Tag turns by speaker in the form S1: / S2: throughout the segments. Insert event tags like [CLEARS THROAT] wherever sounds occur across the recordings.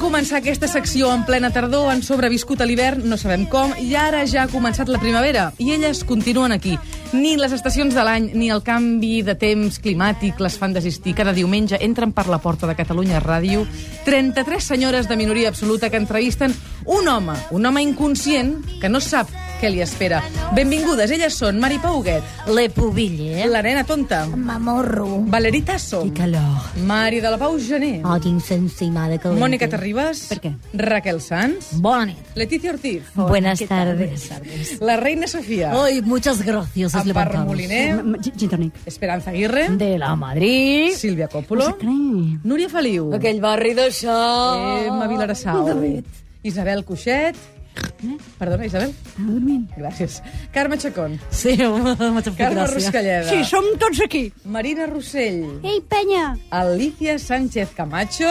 S1: començar aquesta secció en plena tardor, han sobreviscut a l'hivern, no sabem com, i ara ja ha començat la primavera, i elles continuen aquí. Ni les estacions de l'any, ni el canvi de temps climàtic les fan desistir. Cada diumenge entren per la porta de Catalunya Ràdio 33 senyores de minoria absoluta que entrevisten un home, un home inconscient, que no sap què li espera. Benvingudes, elles són Mari Pauguet,
S2: Le eh? pubille.
S1: la nena tonta,
S2: M'amorro.
S1: Valerí Tasso,
S2: Que calor.
S1: Mari de la Pau Gené,
S2: Oh, tinc sensimada calenta.
S1: Mònica Terribas,
S2: Per què?
S1: Raquel Sanz,
S2: Bona nit.
S1: Letícia Ortiz,
S2: Buenas tardes.
S1: La reina Sofia.
S3: Oh,
S2: Hoy muchas gracias. os
S1: Amparo
S2: levantados.
S1: Moliner. Esperanza Aguirre.
S2: De la Madrid.
S1: Sílvia Coppolo. Núria Feliu.
S2: Aquell barri d'això.
S1: Emma
S3: Oh,
S1: Vilarassau. Isabel Cuixet.
S3: Eh?
S1: Perdona, Isabel. Gràcies. Carme Chacón.
S2: Sí, [LAUGHS] home, m'ha fet
S1: Carme
S2: gràcia.
S1: Ruscalleda.
S3: Sí, som tots aquí.
S1: Marina Rossell.
S3: Ei, penya!
S1: Alicia Sánchez Camacho.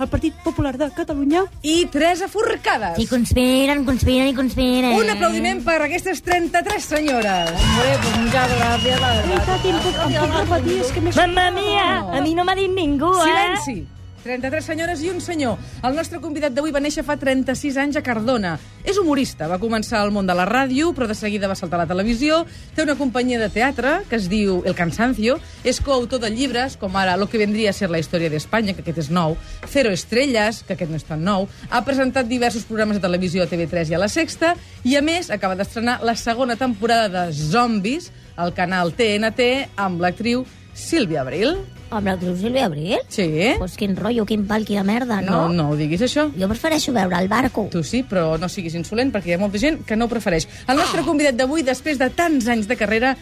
S3: El Partit Popular de Catalunya.
S1: I Teresa Forcades.
S2: I conspiren, conspiren i conspiren.
S1: Un aplaudiment per aquestes 33 senyores.
S3: Veritat, em puc, em puc repetir, és que més...
S2: Mamma mia, a mi no m'ha dit ningú, eh?
S1: Silenci! 33 senyores i un senyor. El nostre convidat d'avui va néixer fa 36 anys a Cardona. És humorista, va començar al món de la ràdio, però de seguida va saltar a la televisió. Té una companyia de teatre que es diu El Cansancio. És coautor de llibres, com ara Lo que vendria a ser la història d'Espanya, que aquest és nou, Cero Estrelles, que aquest no és tan nou. Ha presentat diversos programes de televisió a TV3 i a La Sexta, i a més acaba d'estrenar la segona temporada de Zombies, al canal TNT, amb l'actriu Sílvia Abril.
S2: Home, el Cruz Silvia Abril?
S1: Sí,
S2: Pues quin rotllo, quin pal, quina merda,
S1: no,
S2: no?
S1: no ho diguis, això.
S2: Jo prefereixo veure el barco.
S1: Tu sí, però no siguis insolent, perquè hi ha molta gent que no ho prefereix. El nostre
S2: Ah.
S1: convidat d'avui, després de tants anys de carrera,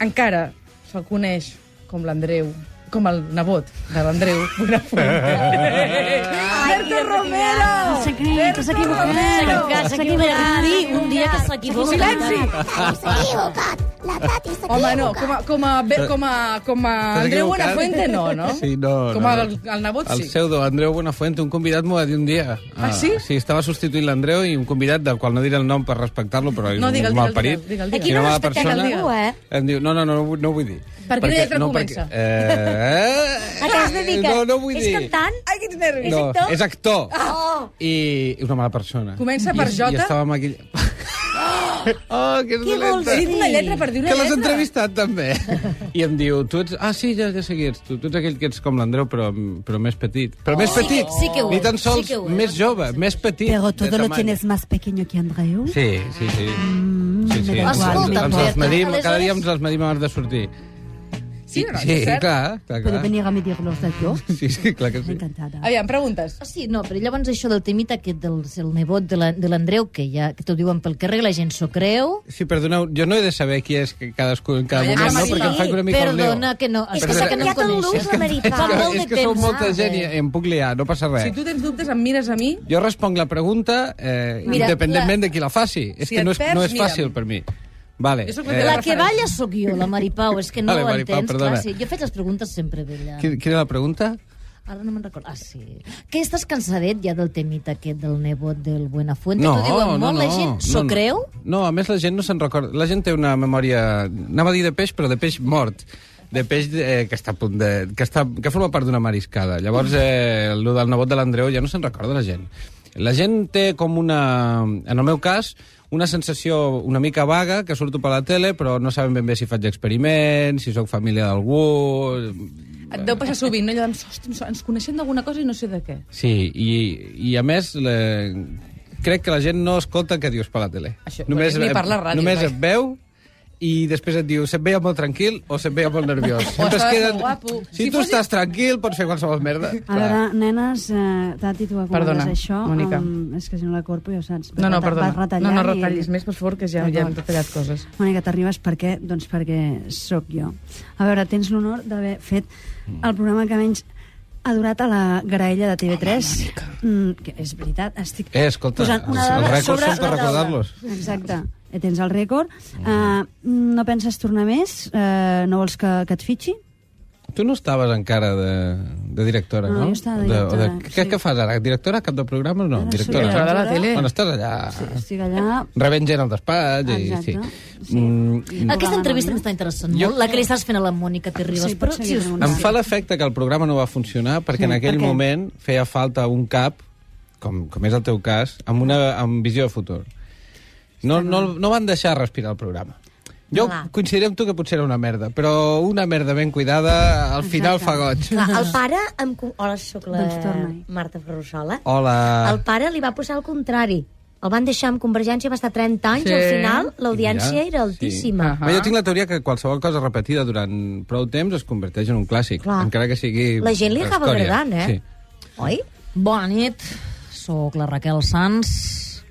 S1: encara se'l coneix com l'Andreu, com el nebot de
S2: [LAUGHS]
S1: l'Andreu Buenafuente. Berto Romero!
S3: S'ha equivocat, s'ha equivocat. S'ha equivocat.
S2: Un dia que s'equivoca.
S1: Silenci!
S4: S'ha equivocat. La Tati s'ha
S1: Home, no,
S4: equivocat.
S1: com a, com a, be- com a, com a
S5: T'has
S1: Andreu
S5: equivocat?
S1: Buenafuente no, no?
S5: Sí, no,
S1: Com
S5: no,
S1: a-
S5: no.
S1: el, el nebot
S5: El
S1: sí.
S5: pseudo Andreu Buenafuente, un convidat m'ho va dir un dia.
S1: Ah, sí?
S5: Sí, estava substituint l'Andreu i un convidat del qual no diré el nom per respectar-lo, però és
S1: No, digue'l,
S5: un
S1: digue'l,
S5: mal parit.
S1: digue'l, digue'l, digue'l.
S2: Aquí no
S5: mala
S2: respectem
S5: persona.
S2: ningú, eh?
S5: Em diu, no, no, no, no, vull- no ho vull dir.
S1: Per quina lletra comença?
S5: Eh, eh,
S2: A què es dedica?
S5: No, no vull
S2: és
S5: dir.
S2: cantant?
S1: Ai, quins nervis!
S5: No,
S2: actor?
S5: és actor.
S2: Oh,
S5: I és una mala persona.
S1: Comença
S5: I-
S1: per
S5: i
S1: Jota?
S5: estava
S1: [GASPS]
S5: maquillat. Oh, que és
S2: Què vols
S5: dolenta.
S1: He dit una
S2: Sí.
S1: lletra per dir una
S5: Que l'has
S1: lletra.
S5: entrevistat, també. I em diu, tu ets... Ah, sí, ja, ja sé qui ets. Tu, tu ets aquell que ets com l'Andreu, però, però més petit. Però més
S2: Sí que-
S5: petit.
S2: sí que ho
S5: Ni
S2: és,
S5: tan
S2: sí
S5: sols
S2: que ho és.
S5: més jove, més petit.
S6: Pero
S5: de
S6: todo lo
S5: tamany.
S6: tienes más pequeño que Andreu.
S5: Sí, sí, sí.
S2: Mm,
S5: Sí, sí.
S6: Escolta,
S5: Ens- ens, ens
S2: Pere,
S5: les medim, cada
S2: aleshores-
S5: dia ens les medim abans de sortir.
S1: Sí, no, no,
S5: sí,
S1: és cert.
S5: clar, clar,
S6: ¿Puedo
S5: clar.
S6: venir a medirlos eh, al yo?
S5: [LAUGHS] Sí, sí, clar que sí.
S6: Encantada.
S1: Aviam, preguntes.
S7: Ah, Sí, no, però llavors això del temita aquest del, del nebot de la- de l'Andreu, que ja que t'ho diuen pel carrer, la gent s'ho creu. Ah,
S5: Sí, perdoneu, jo no he de saber qui és que cadascú en cada
S1: No, ja
S5: moment,
S1: t'ho
S5: no,
S1: sí.
S5: perquè em faig una mica el neo.
S7: Perdona, que no.
S2: és que
S5: Perdona,
S2: s'ha canviat el look, la
S5: [LAUGHS]
S2: veritat.
S5: És
S2: Fa
S5: que,
S2: molt de
S5: és que sou
S2: temps,
S5: molta eh?
S2: saps?
S5: gent i em puc liar, no passa res.
S1: Si tu tens dubtes, em mires a mi
S5: Jo responc la pregunta eh,
S7: Mira,
S5: independentment de qui la faci. És
S1: Si
S5: que no
S1: et
S5: és,
S1: perds,
S5: no és
S1: mira'm.
S5: fàcil per mi. Vale.
S1: Jo sóc la teva
S5: Eh,
S7: La que balla sóc jo, la Maripau, és que no
S5: Vale,
S7: ho
S5: Maripau,
S7: entens.
S5: perdona.
S7: clar, sí. Jo faig les preguntes sempre, vella.
S5: qui- quina era la pregunta?
S7: Ara no me'n recordo. Ah, sí. Que estàs cansadet ja del temita aquest del nebot del Buenafuente? T'ho diuen molt, la gent s'ho
S5: no.
S7: creu?
S5: No, a més la gent no se'n recorda. La gent té una memòria, anava a dir de peix, però de peix mort de peix eh, que està a punt de... Que, està, que forma part d'una mariscada. Llavors, eh, el del nebot de l'Andreu ja no se'n recorda la gent. La gent té com una... En el meu cas, una sensació una mica vaga, que surto per la tele, però no sabem ben bé si faig experiments, si sóc família d'algú...
S1: Et deu passar sovint, no? Allò de, ostres, ens coneixem d'alguna cosa i no sé de què.
S5: Sí, i, i a més, le, crec que la gent no escolta el que dius per la tele.
S1: Això, ni per la ràdio,
S5: Només
S1: vaja.
S5: et veu i després et diu se't veia molt tranquil o se't veia molt nerviós.
S1: [LAUGHS] estàs
S5: es
S1: molt guapo.
S5: Si,
S1: Si
S5: tu
S1: fos-
S5: estàs tranquil, pots fer qualsevol merda.
S8: A veure, nenes, eh, Tati, tu acumes
S1: Perdona,
S8: això.
S1: Mònica.
S8: amb- és que si no la corpo ja ho saps.
S1: No, no,
S8: Vas
S1: perdona.
S8: retallant
S1: No, no
S8: i-
S1: retallis més, per favor, que ja, ja hem
S8: D'acord.
S1: retallat coses.
S8: Mònica, t'arribes per què? Doncs perquè sóc jo. A veure, tens l'honor d'haver fet
S1: Mm.
S8: el programa que menys ha durat a la graella de TV3. Mm, que és veritat, estic
S5: Eh, escolta,
S8: posant una
S5: els- els
S8: dada
S5: rècords
S8: sobre la
S5: són per
S8: taula.
S5: recordar-los. Ah.
S8: Exacte. Eh, Tens el rècord. Uh, no penses tornar més? Uh, no vols que, que et fitxi?
S5: Tu no estaves encara de, de directora,
S8: No,
S5: no?
S8: jo estava de
S5: o o
S8: directora,
S5: Què,
S8: sí.
S5: què fas ara? Directora? Cap de programa o no?
S8: Ara
S5: Directora.
S8: soc
S1: Directora de la tele.
S5: Bueno, estàs allà...
S8: Sí, estic allà...
S5: Rebent gent al despatx i...
S8: Exacte.
S5: Sí. Mm,
S7: Aquesta entrevista
S8: no?
S7: m'està interessant
S5: Jo-
S7: molt, la que li estàs fent a la Mònica Terribas.
S8: Sí,
S7: però,
S8: potser
S7: si us...
S8: hi ha
S5: Em fa l'efecte que el programa no va funcionar perquè
S8: Sí,
S5: en aquell
S8: per què?
S5: moment feia falta un cap com, com és el teu cas, amb, una, amb visió de futur. No, no, no van deixar respirar el programa. Jo
S2: Clar.
S5: coincidiré amb tu que potser era una merda, però una merda ben cuidada al final fa goig.
S2: Clar, el pare... Em... co- Hola, sóc la
S1: Ah.
S8: Doncs torna-hi.
S2: Marta Ferrusola.
S5: Hola.
S2: El pare li va posar el contrari. El van deixar amb Convergència, va estar 30 anys,
S1: Sí.
S2: sí. al final l'audiència
S5: Mira,
S2: era altíssima.
S1: Ah.
S5: Bé, jo tinc la teoria que qualsevol cosa repetida durant prou temps es converteix en un clàssic,
S2: Clar.
S5: encara que sigui...
S2: La gent li acaba
S5: escòria.
S2: agradant, eh?
S5: Sí.
S2: Oi?
S7: Bona nit, sóc la Raquel Sanz.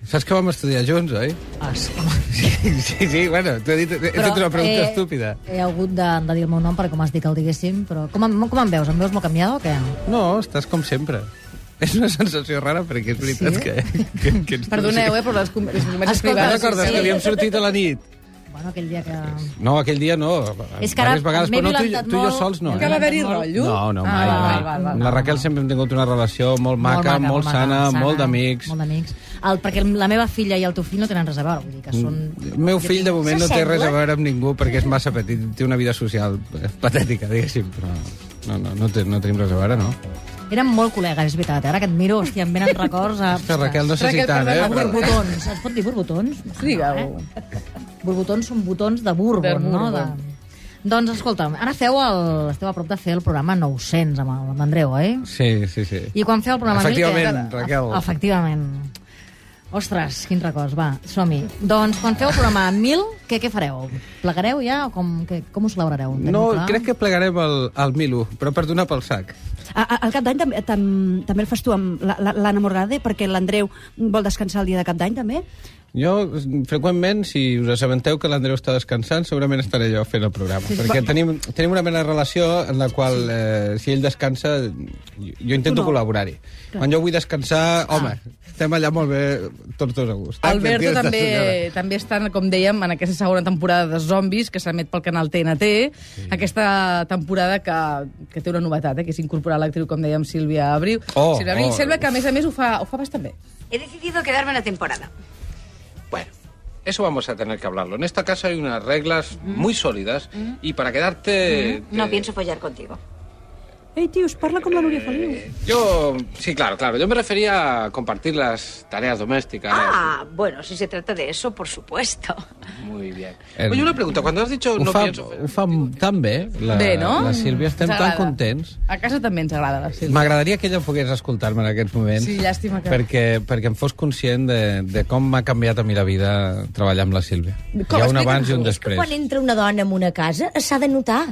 S5: Saps que vam estudiar junts, oi?
S7: Ah, sí.
S5: Sí, sí, sí bueno, t'he dit, he fet una pregunta
S7: eh,
S5: estúpida.
S7: He hagut de, de dir el meu nom perquè com has dit que el diguéssim, però com, em- com em veus? Em veus molt canviada o què?
S5: No, estàs com sempre. És una sensació rara, perquè és veritat
S7: Sí?
S5: que, que, que ens
S1: Perdoneu, eh, però les, com- les converses
S7: Escolta,
S5: No
S1: privades...
S5: recordes
S7: Sí.
S5: que havíem sortit a la nit?
S7: Bueno, aquell dia que...
S5: No, aquell dia no.
S7: És que ara
S5: diverses vegades,
S7: m'he
S5: però no, tu, i-
S7: violentat
S5: tu i jo
S7: molt.
S5: sols no. eh?
S1: Que va haver-hi rotllo?
S5: No, no, mai,
S1: ah,
S5: mai.
S1: Val, val, val.
S5: Amb la Raquel sempre hem tingut una relació molt maca, molt, sana, molt d'amics.
S7: Molt d'amics. El, perquè la meva filla i el teu fill no tenen res a veure, vull dir
S5: Mm.
S7: que són...
S5: El meu fill, de moment, no té res a veure amb ningú perquè és massa petit, té una vida social eh, patètica, diguéssim, però no, no, no, té, no tenim res a veure, no?
S7: Érem molt col·legues, és veritat. eh? Ara que et miro, hòstia, em venen records a...
S5: Però Raquel, no sé
S1: Raquel,
S5: si tant, eh?
S1: perdona,
S7: A
S5: però-
S7: borbotons. Es pot dir borbotons? Eh?
S1: Digue-ho.
S7: Borbotons són botons de bourbon,
S1: De
S7: no?
S1: bourbon.
S7: Doncs, escolta'm, ara feu el... esteu a prop de fer el programa 900 amb, el- amb Andreu, eh?
S5: Sí, sí, sí.
S7: I quan feu el programa... amb ell,
S5: Efectivament,
S7: que-
S5: Raquel.
S7: Ef- Efectivament. Ostres, quins records, va, som-hi. Doncs quan feu el programa 1000, què, què fareu? Plegareu ja o com, que, com ho celebrareu? Teniu
S5: No,
S7: clar?
S5: crec que plegarem el, el Milo, però per donar pel sac.
S8: A- a- El cap d'any també, tam, també el fas tu amb la- la- l'Anna Morgade, perquè l'Andreu vol descansar el dia de cap d'any, també.
S5: Jo, freqüentment, si us assabenteu que l'Andreu està descansant, segurament estaré jo fent el programa. Sí, perquè tenim, tenim una mena de relació en la qual, eh, si ell descansa, jo, jo intento no. col·laborar-hi. Quan jo vull descansar, home, estem allà molt bé tots dos a gust.
S1: Ah. Alberto
S5: Aquesta
S1: també,
S5: senyora.
S1: també està, com dèiem, en aquesta segona temporada de Zombies, que s'emet pel canal TNT. Sí. Aquesta temporada que, que té una novetat, eh, que és incorporar l'actriu, com dèiem, Sílvia Abril.
S5: Oh,
S1: Sílvia Abril
S5: oh.
S1: sembla que, a més a més, ho fa, ho fa bastant bé.
S9: He decidido quedarme una temporada.
S5: Bueno, eso vamos a tener que hablarlo. En esta casa hay unas reglas muy sólidas y para quedarte... eh,
S9: No pienso follar contigo.
S8: Ei, tios, parla com la Núria Feliu.
S1: Eh,
S5: Yo, sí, claro, claro. Yo me refería a compartir las tareas domésticas.
S9: Ah, bueno, si se trata de eso, por supuesto.
S5: Muy bien. Oye, una pregunta. Cuando has dicho
S10: Ho
S5: no
S10: fa,
S5: pienso...
S10: ho fa tan bé, la,
S1: bé, no?
S10: la Sílvia. Estem
S1: Ens
S10: tan
S1: agrada.
S10: contents.
S1: A casa també ens agrada la Sílvia.
S5: M'agradaria que ella pogués escoltar-me en aquests moments.
S1: Sí, llàstima que-
S5: Perquè, perquè em fos conscient de, de com m'ha canviat a mi la vida treballar amb la Sílvia.
S1: Com?
S5: Hi ha un abans i
S1: Explica'm-ho.
S5: un
S2: És que quan
S5: després.
S2: entra una dona en una casa s'ha de notar,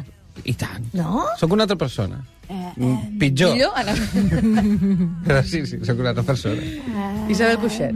S5: I tant.
S2: no?
S5: Sóc una altra persona.
S8: Eh,
S5: Mm, Pitjor.
S1: Millor, Ah, Anna.
S5: Però [LAUGHS] Sí, sí, sóc una altra persona.
S1: Isabel Coixet.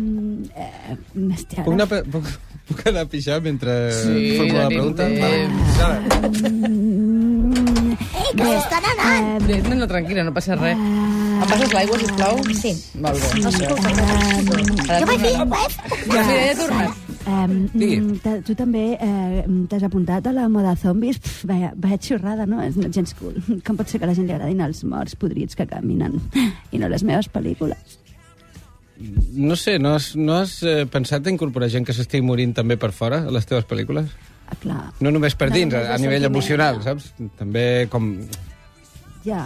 S8: Hòstia,
S5: Puc anar, pe- puc, puc anar a pixar mentre
S1: Sí,
S5: formulo la
S1: tenim
S5: pregunta?
S1: temps.
S5: Vale.
S4: Eh, que s'està nedant!
S1: Bé, No, no, tranquil·la, no passa res. Em passes l'aigua, sisplau? Sí. Molt bé.
S2: Eh,
S4: Jo vaig dir, uef!
S1: Ja, mira, ja he tornat.
S8: Um,
S5: Digui.
S8: tu també eh, t'has apuntat a la moda zombis. Pff, vaya, vaya xorrada, no? És gens cool. Com pot ser que a la gent li agradin els morts podrits que caminen i no les meves pel·lícules?
S5: No sé, no has, no has eh, pensat a incorporar gent que s'estigui morint també per fora a les teves pel·lícules?
S8: Ah, clar,
S5: No només per
S8: No
S5: dins,
S8: només
S5: a, a
S8: de
S5: nivell
S8: sentiment.
S5: emocional, saps? També com...
S8: ja.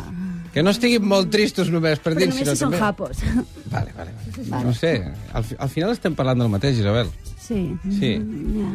S5: Que no estiguin molt tristos només per
S8: Però
S5: dins,
S8: només si són
S5: també...
S8: japos. [LAUGHS]
S5: Vale, vale, vale. No sé, al, fi- al final estem parlant del mateix, Isabel.
S8: Sí.
S5: Sí.
S8: Ja.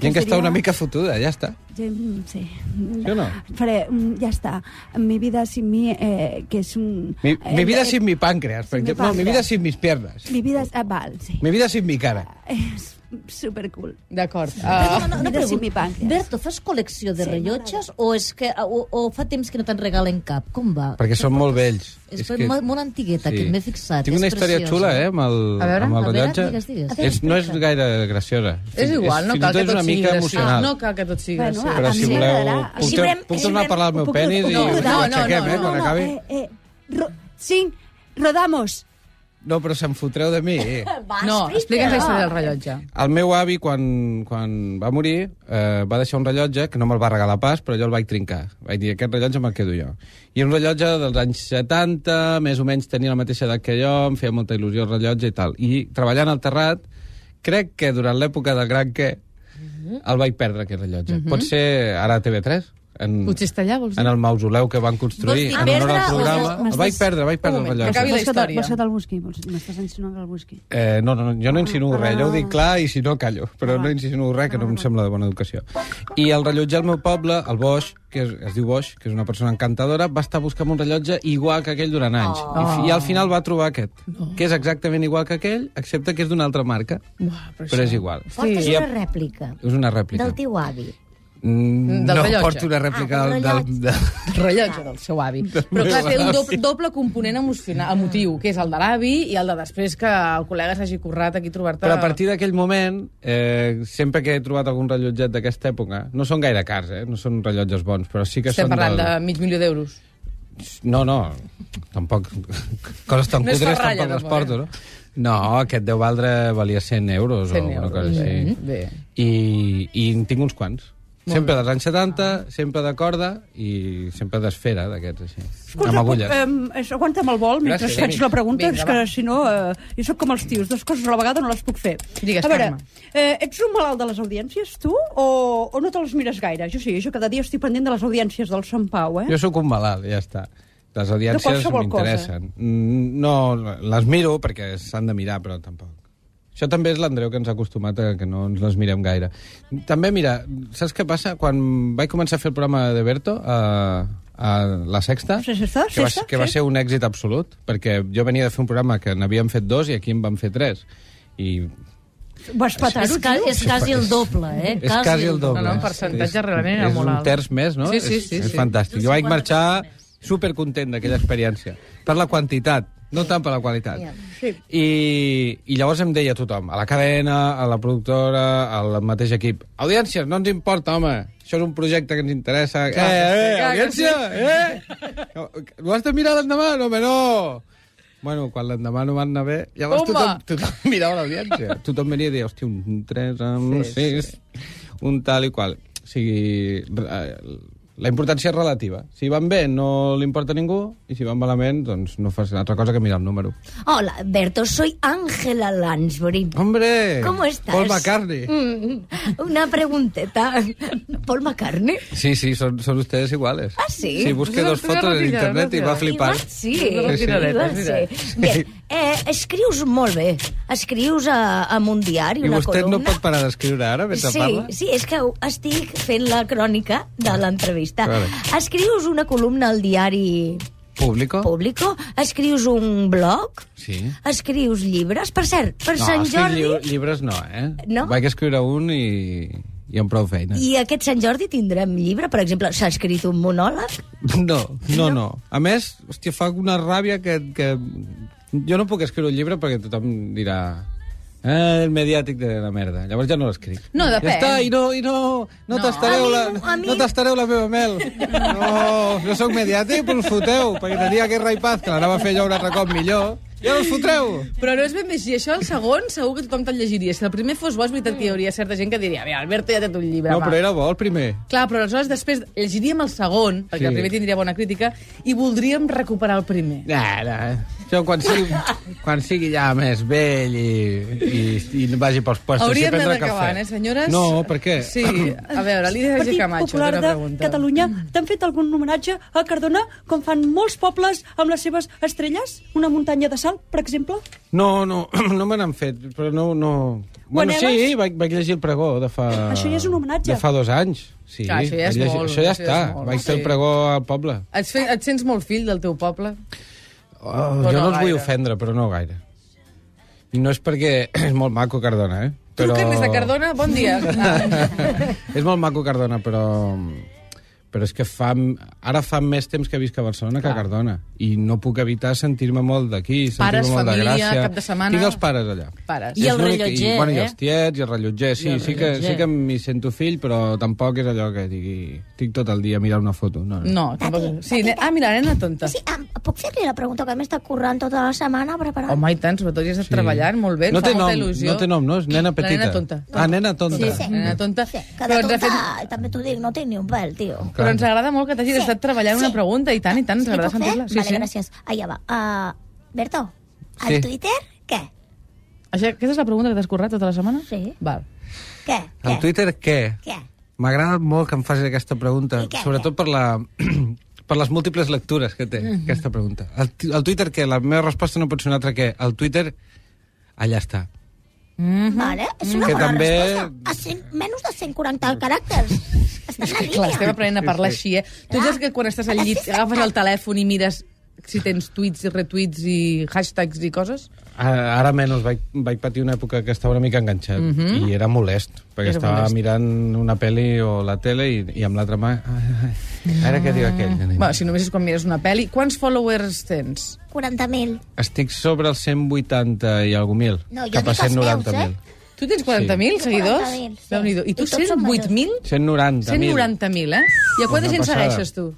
S5: Gent que
S8: Mm.
S5: està
S8: seria-
S5: una mica fotuda, ja està.
S8: Gent, sí.
S5: Sí o no?
S8: Faré, mm, ja està. Mi vida sin mi, eh, que és un...
S5: Mi,
S8: eh,
S5: mi vida
S8: eh,
S5: sin mi páncreas, per
S8: sin mi
S5: exemple. No, mi vida
S8: páncreas.
S5: sin mis piernas.
S8: Mi vida... Ah, val, sí. [LAUGHS]
S5: Mi vida sin mi cara.
S8: És supercool.
S1: D'acord. Uh,
S7: No, no,
S8: Mira si
S7: pregunto.
S8: m'hi pagues.
S7: Berto, fas col·lecció de rellotges o, és que, o, o fa temps que no te'n regalen cap? Com va?
S5: Perquè són molt vells.
S7: És molt- molt antigueta, que m'he fixat,
S5: Tinc una
S7: és
S5: història
S7: preciosa.
S5: xula, eh, amb el,
S1: A veure,
S5: amb el
S7: a veure,
S5: rellotge.
S7: digues, digues. A
S2: veure,
S5: és, no és gaire graciosa.
S1: és igual, no
S5: Fins
S1: cal que
S5: i tot és
S1: tot
S5: una
S1: sigui
S5: mica
S1: graciós.
S5: emocional.
S1: No cal que tot sigui
S8: Bueno,
S1: graciós.
S5: Però
S8: A
S5: si
S8: mi
S5: voleu,
S8: m'agradarà.
S5: puc,
S2: Així
S5: tor-
S2: veurem-
S5: puc
S2: així
S5: tornar a
S2: veurem-
S5: parlar del
S8: ho
S5: meu
S8: puc-
S5: penis
S8: ho
S5: i
S8: puc-
S1: no,
S5: ho
S1: no, no,
S5: aixequem, eh,
S1: no,
S5: quan acabi.
S8: Eh, eh, ro cinc, rodamos.
S5: No, però se'n fotreu de mi. eh.
S7: ah,
S1: No, explica'ns la història del rellotge.
S5: El meu avi, quan, quan va morir, eh, va deixar un rellotge que no me'l va regalar pas, però jo el vaig trincar. Vaig dir, aquest rellotge me'l quedo jo. I un rellotge dels anys 70, més o menys tenia la mateixa edat que jo, em feia molta il·lusió el rellotge i tal. I treballant al terrat, crec
S8: Mhm.
S5: que durant l'època del gran què, el vaig perdre, aquest rellotge. Pot ser ara a TV3? En,
S1: Ho allà, vols
S5: en
S1: dir?
S5: el mausoleu que van construir
S7: dir
S5: en honor al
S7: perdre o-
S5: programa.
S8: m'estàs-
S5: Vaig perdre, vaig perdre el
S1: moment,
S5: rellotge.
S1: acabi la
S8: Vols que te-
S1: història.
S8: Vols que te'l busqui? Vols- M'estàs insinuant que el busqui.
S5: Eh, no, no, no,
S1: Ah,
S5: jo no insinuo res, jo ho dic clar i si no callo, però no insinuo res, que no
S1: Ah.
S5: em sembla de bona educació. I el rellotge al meu poble, el Boix, que es, es diu Boix, que és una persona encantadora, va estar buscant un rellotge igual que aquell durant anys. Oh. I, fi- I al final va trobar aquest, no. que és exactament igual que aquell, excepte que és d'una altra marca,
S1: Uah, però
S5: però és igual.
S2: Portes
S5: I
S2: una
S5: a-
S2: rèplica
S5: És una rèplica.
S2: del teu avi.
S5: Mm,
S1: Del
S5: no,
S1: rellotge.
S5: porto una rèplica
S2: Ah,
S5: del...
S2: del
S5: del, del...
S1: rellotge del seu avi. Però clar, té un doble, doble component emocional, emotiu, que és el de l'avi i el de després que el col·lega s'hagi currat aquí a trobar-te...
S5: Però a partir d'aquell moment, eh, sempre que he trobat algun rellotget d'aquesta època, no són gaire cars, eh? no són rellotges bons, però sí que
S1: Estem
S5: són...
S1: parlant
S5: del...
S1: de mig milió d'euros.
S5: No, no, tampoc... Coses tan
S1: No és
S5: cutres
S1: ferralla,
S5: tampoc les
S1: tampoc, eh?
S5: porto, no? No, aquest deu valdre valia 100 euros
S1: 100
S5: o una
S1: euros, Mm-hmm.
S5: cosa
S1: bé,
S5: així.
S1: bé.
S5: I, I en tinc uns quants. sempre dels anys 70, sempre de corda i sempre d'esfera, d'aquests així. amb agulles.
S10: Eh, aguanta'm el vol mentre Gràcies,
S5: Gràcies,
S10: faig
S5: amic.
S10: la pregunta,
S1: Vinga,
S10: és que
S1: va.
S10: si no... Eh, jo sóc com els tios, dues coses a la vegada no les puc fer.
S1: Digues,
S10: a veure,
S1: Carme.
S10: eh, ets un malalt de les audiències, tu, o, o no te les mires gaire? Jo sí, jo cada dia estic pendent de les audiències del Sant Pau, eh?
S5: Jo sóc un malalt, ja està. Les audiències
S10: qualsevol
S5: m'interessen. Mm, No, les miro perquè s'han de mirar, però tampoc. Això també és l'Andreu que ens ha acostumat a que no ens les mirem gaire. També, mira, saps què passa? Quan vaig començar a fer el programa de Berto, a, a La Sexta,
S10: Sí, sí, sí,
S5: que, va,
S10: sí, sí.
S5: que va ser un èxit absolut, perquè jo venia de fer un programa que n'havíem fet dos i aquí en vam fer tres. I
S10: Vas petar-ho,
S7: És, ca és quasi el doble, eh?
S5: és quasi el doble.
S1: No, no, en percentatge
S5: És-
S1: realment era
S5: és
S1: molt alt.
S5: un terç més, no?
S1: Sí, sí,
S5: És-
S1: sí,
S5: És
S1: sí.
S5: fantàstic.
S2: Un
S5: Jo vaig
S2: 50%
S5: marxar
S2: més.
S5: supercontent d'aquella experiència. Per la quantitat, no tant per la qualitat. I, I llavors em deia tothom, a la cadena, a la productora, al mateix equip, audiències, no ens importa, home, això és un projecte que ens interessa. Clar, eh, eh,
S1: clar que
S5: audiència, eh! Ho has de mirar l'endemà? No, home, no! Bueno, quan l'endemà no va anar bé, llavors
S1: Home!
S5: tothom, tothom mirava l'audiència. [LAUGHS] tothom venia i deia, hòstia, un 3 amb sí, 6, un tal i qual. O sigui, re- eh, la importància és relativa. Si van bé, no li importa a ningú, i si van malament, doncs no fas altra cosa que mirar el número.
S2: Hola, Berto, soy Ángela Lansbury.
S5: Hombre!
S2: ¿Cómo estás?
S5: Eh, Paul McCartney.
S2: Mm, una pregunteta. ¿Paul McCartney?
S5: Sí, sí, són, són ustedes iguales.
S2: Ah, sí?
S5: Sí, busqué dos
S1: Una
S5: fotos en
S1: retirada,
S5: internet i va
S1: gràcies.
S5: flipar.
S2: Igual sí.
S5: Sí, sí.
S2: Igual sí. Bé, eh, escrius molt bé. Escrius a, a un diari,
S5: I
S2: una
S5: vostè
S2: columna.
S5: no pot parar d'escriure ara mentre
S2: Sí,
S5: parla?
S2: sí, és que estic fent la crònica de l'entrevista.
S5: Ah, Vale.
S2: Escrius una columna al diari
S5: Público?
S2: Público, escrius un blog,
S5: Sí.
S2: escrius llibres. Per cert, per Sant
S5: escric
S2: Jordi...
S5: lliu- Llibres no, eh?
S2: No?
S5: Vaig escriure un i, i amb prou feina.
S2: I aquest Sant Jordi tindrem llibre, per exemple, s'ha escrit un monòleg.
S5: [LAUGHS] No, no, no. A més, hòstia, fa una ràbia que, que... Jo no puc escriure un llibre perquè tothom dirà... Eh, el mediàtic de la merda. Llavors ja no l'escric.
S1: No, depèn.
S5: Ja està, i no, i no,
S1: No.
S5: no, tastareu la,
S2: A mi no, a mi-
S5: no tastareu la meva mel. No, jo sóc mediàtic, però us foteu, perquè tenia guerra i paz, que l'anava a fer jo un altre cop millor. Ja no us fotreu.
S1: Però no és ben bé així. Això, el segon, segur que tothom te'l llegiria. Si el primer fos bo, és veritat que hi hauria certa gent que diria «Bé, Alberto, ja té un llibre,
S5: No,
S1: va».
S5: però era bo el primer.
S1: Clar, però aleshores després llegiríem el segon, perquè
S5: Sí.
S1: el primer tindria bona crítica, i voldríem recuperar el primer.
S5: Nah, nah. Jo quan sigui, quan sigui ja més vell i, i, i vagi pels puestos
S1: Hauríem
S5: i
S1: d'anar
S5: prendre cafè.
S1: acabant, eh, senyores?
S5: No, per què?
S1: Sí, a veure, Lídia G.
S10: Partit
S1: Camacho, té
S10: Popular
S1: una
S10: de
S1: pregunta.
S10: Catalunya, t'han fet algun homenatge a Cardona, com fan molts pobles amb les seves estrelles? Una muntanya de sal, per exemple?
S5: No, no, [CLEARS THROAT] no me n'han fet, però no... no... Bueno, sí,
S10: anaves?
S5: vaig, vaig llegir el pregó de fa...
S10: Això ja és un homenatge.
S5: De fa dos anys. Sí,
S1: Clar, Ah, això ja
S5: vaig
S1: és
S5: llegir-
S1: molt,
S5: Això ja
S1: això ja
S5: està.
S1: és molt,
S5: vaig fer
S1: sí.
S5: el pregó al poble.
S1: Et, fe, et sents molt fill del teu poble?
S5: Oh,
S1: no
S5: jo no, els vull
S1: gaire.
S5: ofendre, però no gaire. I no és perquè... [CLEARS THROAT] És molt maco, Cardona, eh?
S1: Però... Truquen des de Cardona? Bon
S5: [LAUGHS]
S1: dia. Ah,
S5: és molt maco Cardona, però però és que fa, ara fa més temps que visc a Barcelona que a Cardona i no puc evitar sentir-me molt d'aquí sentir-me
S1: Pares,
S5: molt
S1: família,
S5: de gràcia
S1: cap de setmana.
S5: tinc els pares allà
S1: pares.
S7: I
S5: És
S7: el
S5: l'únic-
S7: rellotger,
S5: i, bueno, i
S7: eh?
S5: els tiets i el rellotger sí,
S7: I el
S5: sí que,
S7: rellotger.
S5: sí que m'hi sento fill però tampoc és allò que digui estic tot el dia a mirar una foto no, no.
S1: No, tampoc... Sí, ne... Ah, mira, nena tonta.
S4: Sí, em, puc fer-li la pregunta que m'he estat currant tota la setmana preparant?
S1: Home, i tant, sobretot hi has estat sí. treballant molt bé,
S5: no
S1: fa
S5: té nom,
S1: molta il·lusió.
S5: no té nom, no? És nena
S1: La
S5: petita
S1: nena tonta.
S5: ah, nena tonta
S4: Sí, sí.
S1: Nena tonta.
S4: Sí, que
S1: Però
S4: de
S1: ens ha
S4: tonta,
S1: fet...
S4: fet... també t'ho dic, no tinc ni un pèl, tio.
S1: Però ens agrada molt que t'hagis
S4: Sí,
S1: estat treballant una
S4: sí.
S1: pregunta, i tant, i tant, ens
S4: Li
S1: agrada
S4: puc fer?
S1: sentir-la.
S4: vale, gràcies. Allà va. Uh, Berto, al
S5: Sí.
S4: Twitter, què?
S1: Això, aquesta és la pregunta que t'has currat tota la setmana?
S4: Sí.
S1: Val.
S4: Què?
S5: al
S4: Què?
S5: Twitter què?
S4: Què?
S5: M'ha agradat molt que em facis aquesta pregunta,
S4: I què, Mhm.
S5: sobretot per la... [CLEARS THROAT] per les múltiples lectures que té aquesta pregunta. El, tu- el Twitter, què? La meva resposta no pot ser una altra que el Twitter... Allà està.
S1: Mhm.
S4: Vale? És una
S5: Que
S4: bona
S5: també-
S4: resposta. A 100, menys de 140 caràcters. Estan a Ah,
S1: Clar, estem
S4: línia.
S1: aprenent a parlar
S5: Sí,
S1: així, eh? Tu ja és que quan estàs al llit agafes el telèfon i mires si tens tuits i retuits i hashtags i coses?
S5: Ara ara menys, vaig, vaig patir una època que estava una mica enganxat
S4: Mhm.
S5: i era molest,
S1: Era
S5: perquè estava
S1: molest.
S5: mirant una pel·li o la tele i, i amb l'altra mà... Ai, ai, ara què diu aquell?
S4: Ah.
S1: Va, si només és quan mires una pel·li. Quants followers tens?
S4: 40.000.
S5: Estic sobre els 180 i algú mil,
S4: No, jo
S5: cap a
S4: dic els
S5: 190.000.
S4: meus, eh?
S1: Tu tens 40.000
S4: Sí.
S1: seguidors?
S4: 40.000, sí.
S1: Déu-n'hi-do. I tu
S4: I tots són
S1: 108.000?
S5: 190.000.
S1: 190.000, eh? I a quanta
S5: Una
S1: gent
S5: passada.
S1: segueixes, tu?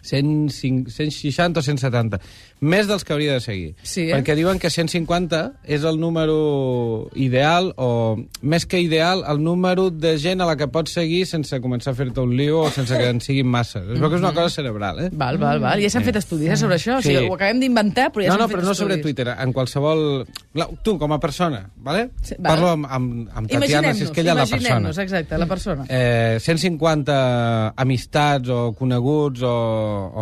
S5: 105, 160 o 170. Més dels que hauria de seguir.
S1: Sí, eh?
S5: Perquè diuen que 150 és el número ideal, o més que ideal, el número de gent a la que pots seguir sense començar a fer-te un lío o sense que en siguin massa. Es veu que és
S1: Mm-hmm.
S5: una cosa cerebral, eh?
S1: Val, val, val. Ja s'han fet estudis eh, sobre això. O sigui,
S5: Sí.
S1: ho acabem d'inventar, però ja
S5: no,
S1: s'han
S5: no,
S1: fet
S5: però no
S1: estudis.
S5: sobre Twitter, en qualsevol... Clar, Tu, com a persona, vale?
S1: Sí, val.
S5: parlo amb, amb, amb Tatiana,
S1: Imaginem-nos,
S5: si és que ella és la persona.
S1: imaginem-nos, exacte, la persona.
S5: Eh, 150 amistats o coneguts o,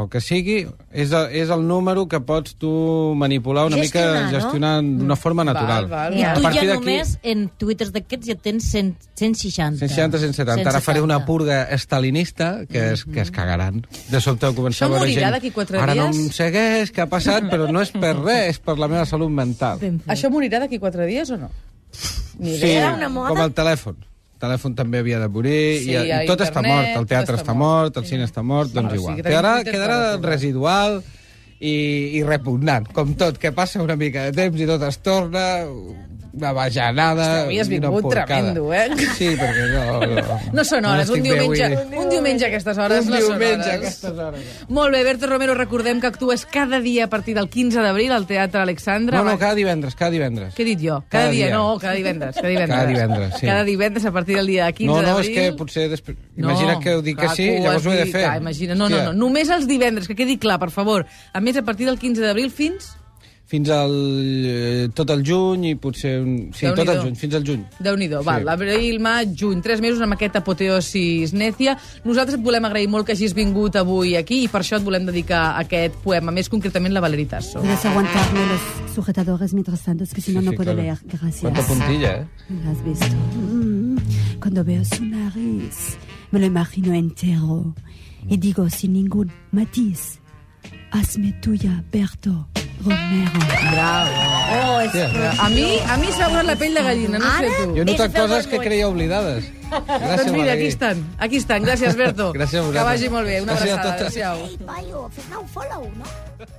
S5: o que sigui, és, el- és el número que pots tu manipular una
S2: Gestionar,
S5: mica,
S2: no? Mm.
S5: gestionar d'una forma natural.
S1: Val, val,
S7: I
S1: Ja.
S7: tu
S5: A partir
S7: ja
S5: d'aquí-
S7: només en twitters d'aquests ja tens 100, 160.
S5: 160, 170. Ara faré una
S7: 170.
S5: purga estalinista que es, que es cagaran. De sobte començar
S1: Això
S5: a veure
S1: morirà
S5: gent...
S1: d'aquí quatre
S5: Ara no
S1: dies?"
S5: em segueix, què ha passat? Però no és per res, és per la meva salut mental.
S7: Ben fet.
S1: Això morirà d'aquí quatre dies o no? Ni
S5: Sí,
S1: idea.
S4: una moda.
S5: com el telèfon. El telèfon també havia de morir,
S1: Sí,
S5: sí, i, i
S1: a
S5: tot està
S1: internet,
S5: mort, el teatre
S1: tot està
S5: està mort, el cine està mort,
S1: o
S5: doncs
S1: sigui
S5: igual.
S1: que tenim
S5: Quedarà,
S1: Twitter
S5: quedarà
S1: per a tot.
S5: residual i, i repugnant, com tot, que passa una mica de temps i tot es torna una bajanada...
S1: Hòstia, avui has
S5: una
S1: vingut
S5: porcada.
S1: tremendo, eh?
S5: Sí, perquè no... No,
S1: [LAUGHS] No són hores, un
S5: estic bé
S1: diumenge,
S5: avui.
S1: un diumenge a aquestes hores
S5: eh. Un
S1: no són
S5: diumenge
S1: hores.
S5: a aquestes hores.
S1: Molt bé, Berto Romero, recordem que actues cada dia a partir del 15 d'abril al Teatre Alexandra.
S5: No, no, cada divendres, cada divendres.
S1: Què he dit jo? Cada,
S5: Cada
S1: dia.
S5: dia.
S1: no, cada divendres. Cada divendres,
S5: Cada divendres, sí.
S1: Cada divendres a partir del dia 15
S5: No, no, és
S1: d'abril.
S5: que potser... Després... Imagina que ho dic que
S1: clar,
S5: sí,
S1: ho
S5: llavors
S1: has
S5: ho he de
S1: dit,
S5: fer.
S1: Clar, imagina. No, no, no,
S5: Hòstia.
S1: només els divendres, que quedi clar, per favor. A més, a partir del 15 d'abril fins...
S5: Fins al... eh, tot el juny i potser... Un... Sí, tot el
S1: Déu-n'hi-do.
S5: juny, fins al juny.
S1: déu nhi sí. val, abril, maig, juny, tres mesos amb aquest apoteosis nècia. Nosaltres et volem agrair molt que hagis vingut avui aquí i per això et volem dedicar aquest poema, més concretament la Valeri Tasso.
S6: Voy a aguantarme los sujetadores mientras tanto, es que si no, no puedo
S5: claro.
S6: leer. Gracias.
S5: Cuánta puntilla, ¿eh?
S6: ¿Lo has visto? Mm. Cuando veo su nariz, me lo imagino entero y digo sin ningún matiz, hazme tuya, Berto Romero.
S2: Oh, és...
S1: A mi, a mi s'ha posat la pell de gallina, no sé tu.
S5: Jo he notat
S2: Fes-me
S5: coses
S2: vergonya.
S5: que creia oblidades. Gràcies,
S1: [LAUGHS] Doncs mira, aquí
S5: Balaguer.
S1: estan, aquí estan. Gràcies, Berto.
S5: Gràcies a vosaltres.
S1: Que vagi molt bé. Una
S5: Gràcies a
S1: abraçada.
S5: totes.
S1: Adéu-siau.
S4: Ei, paio, fes-me un follow, no?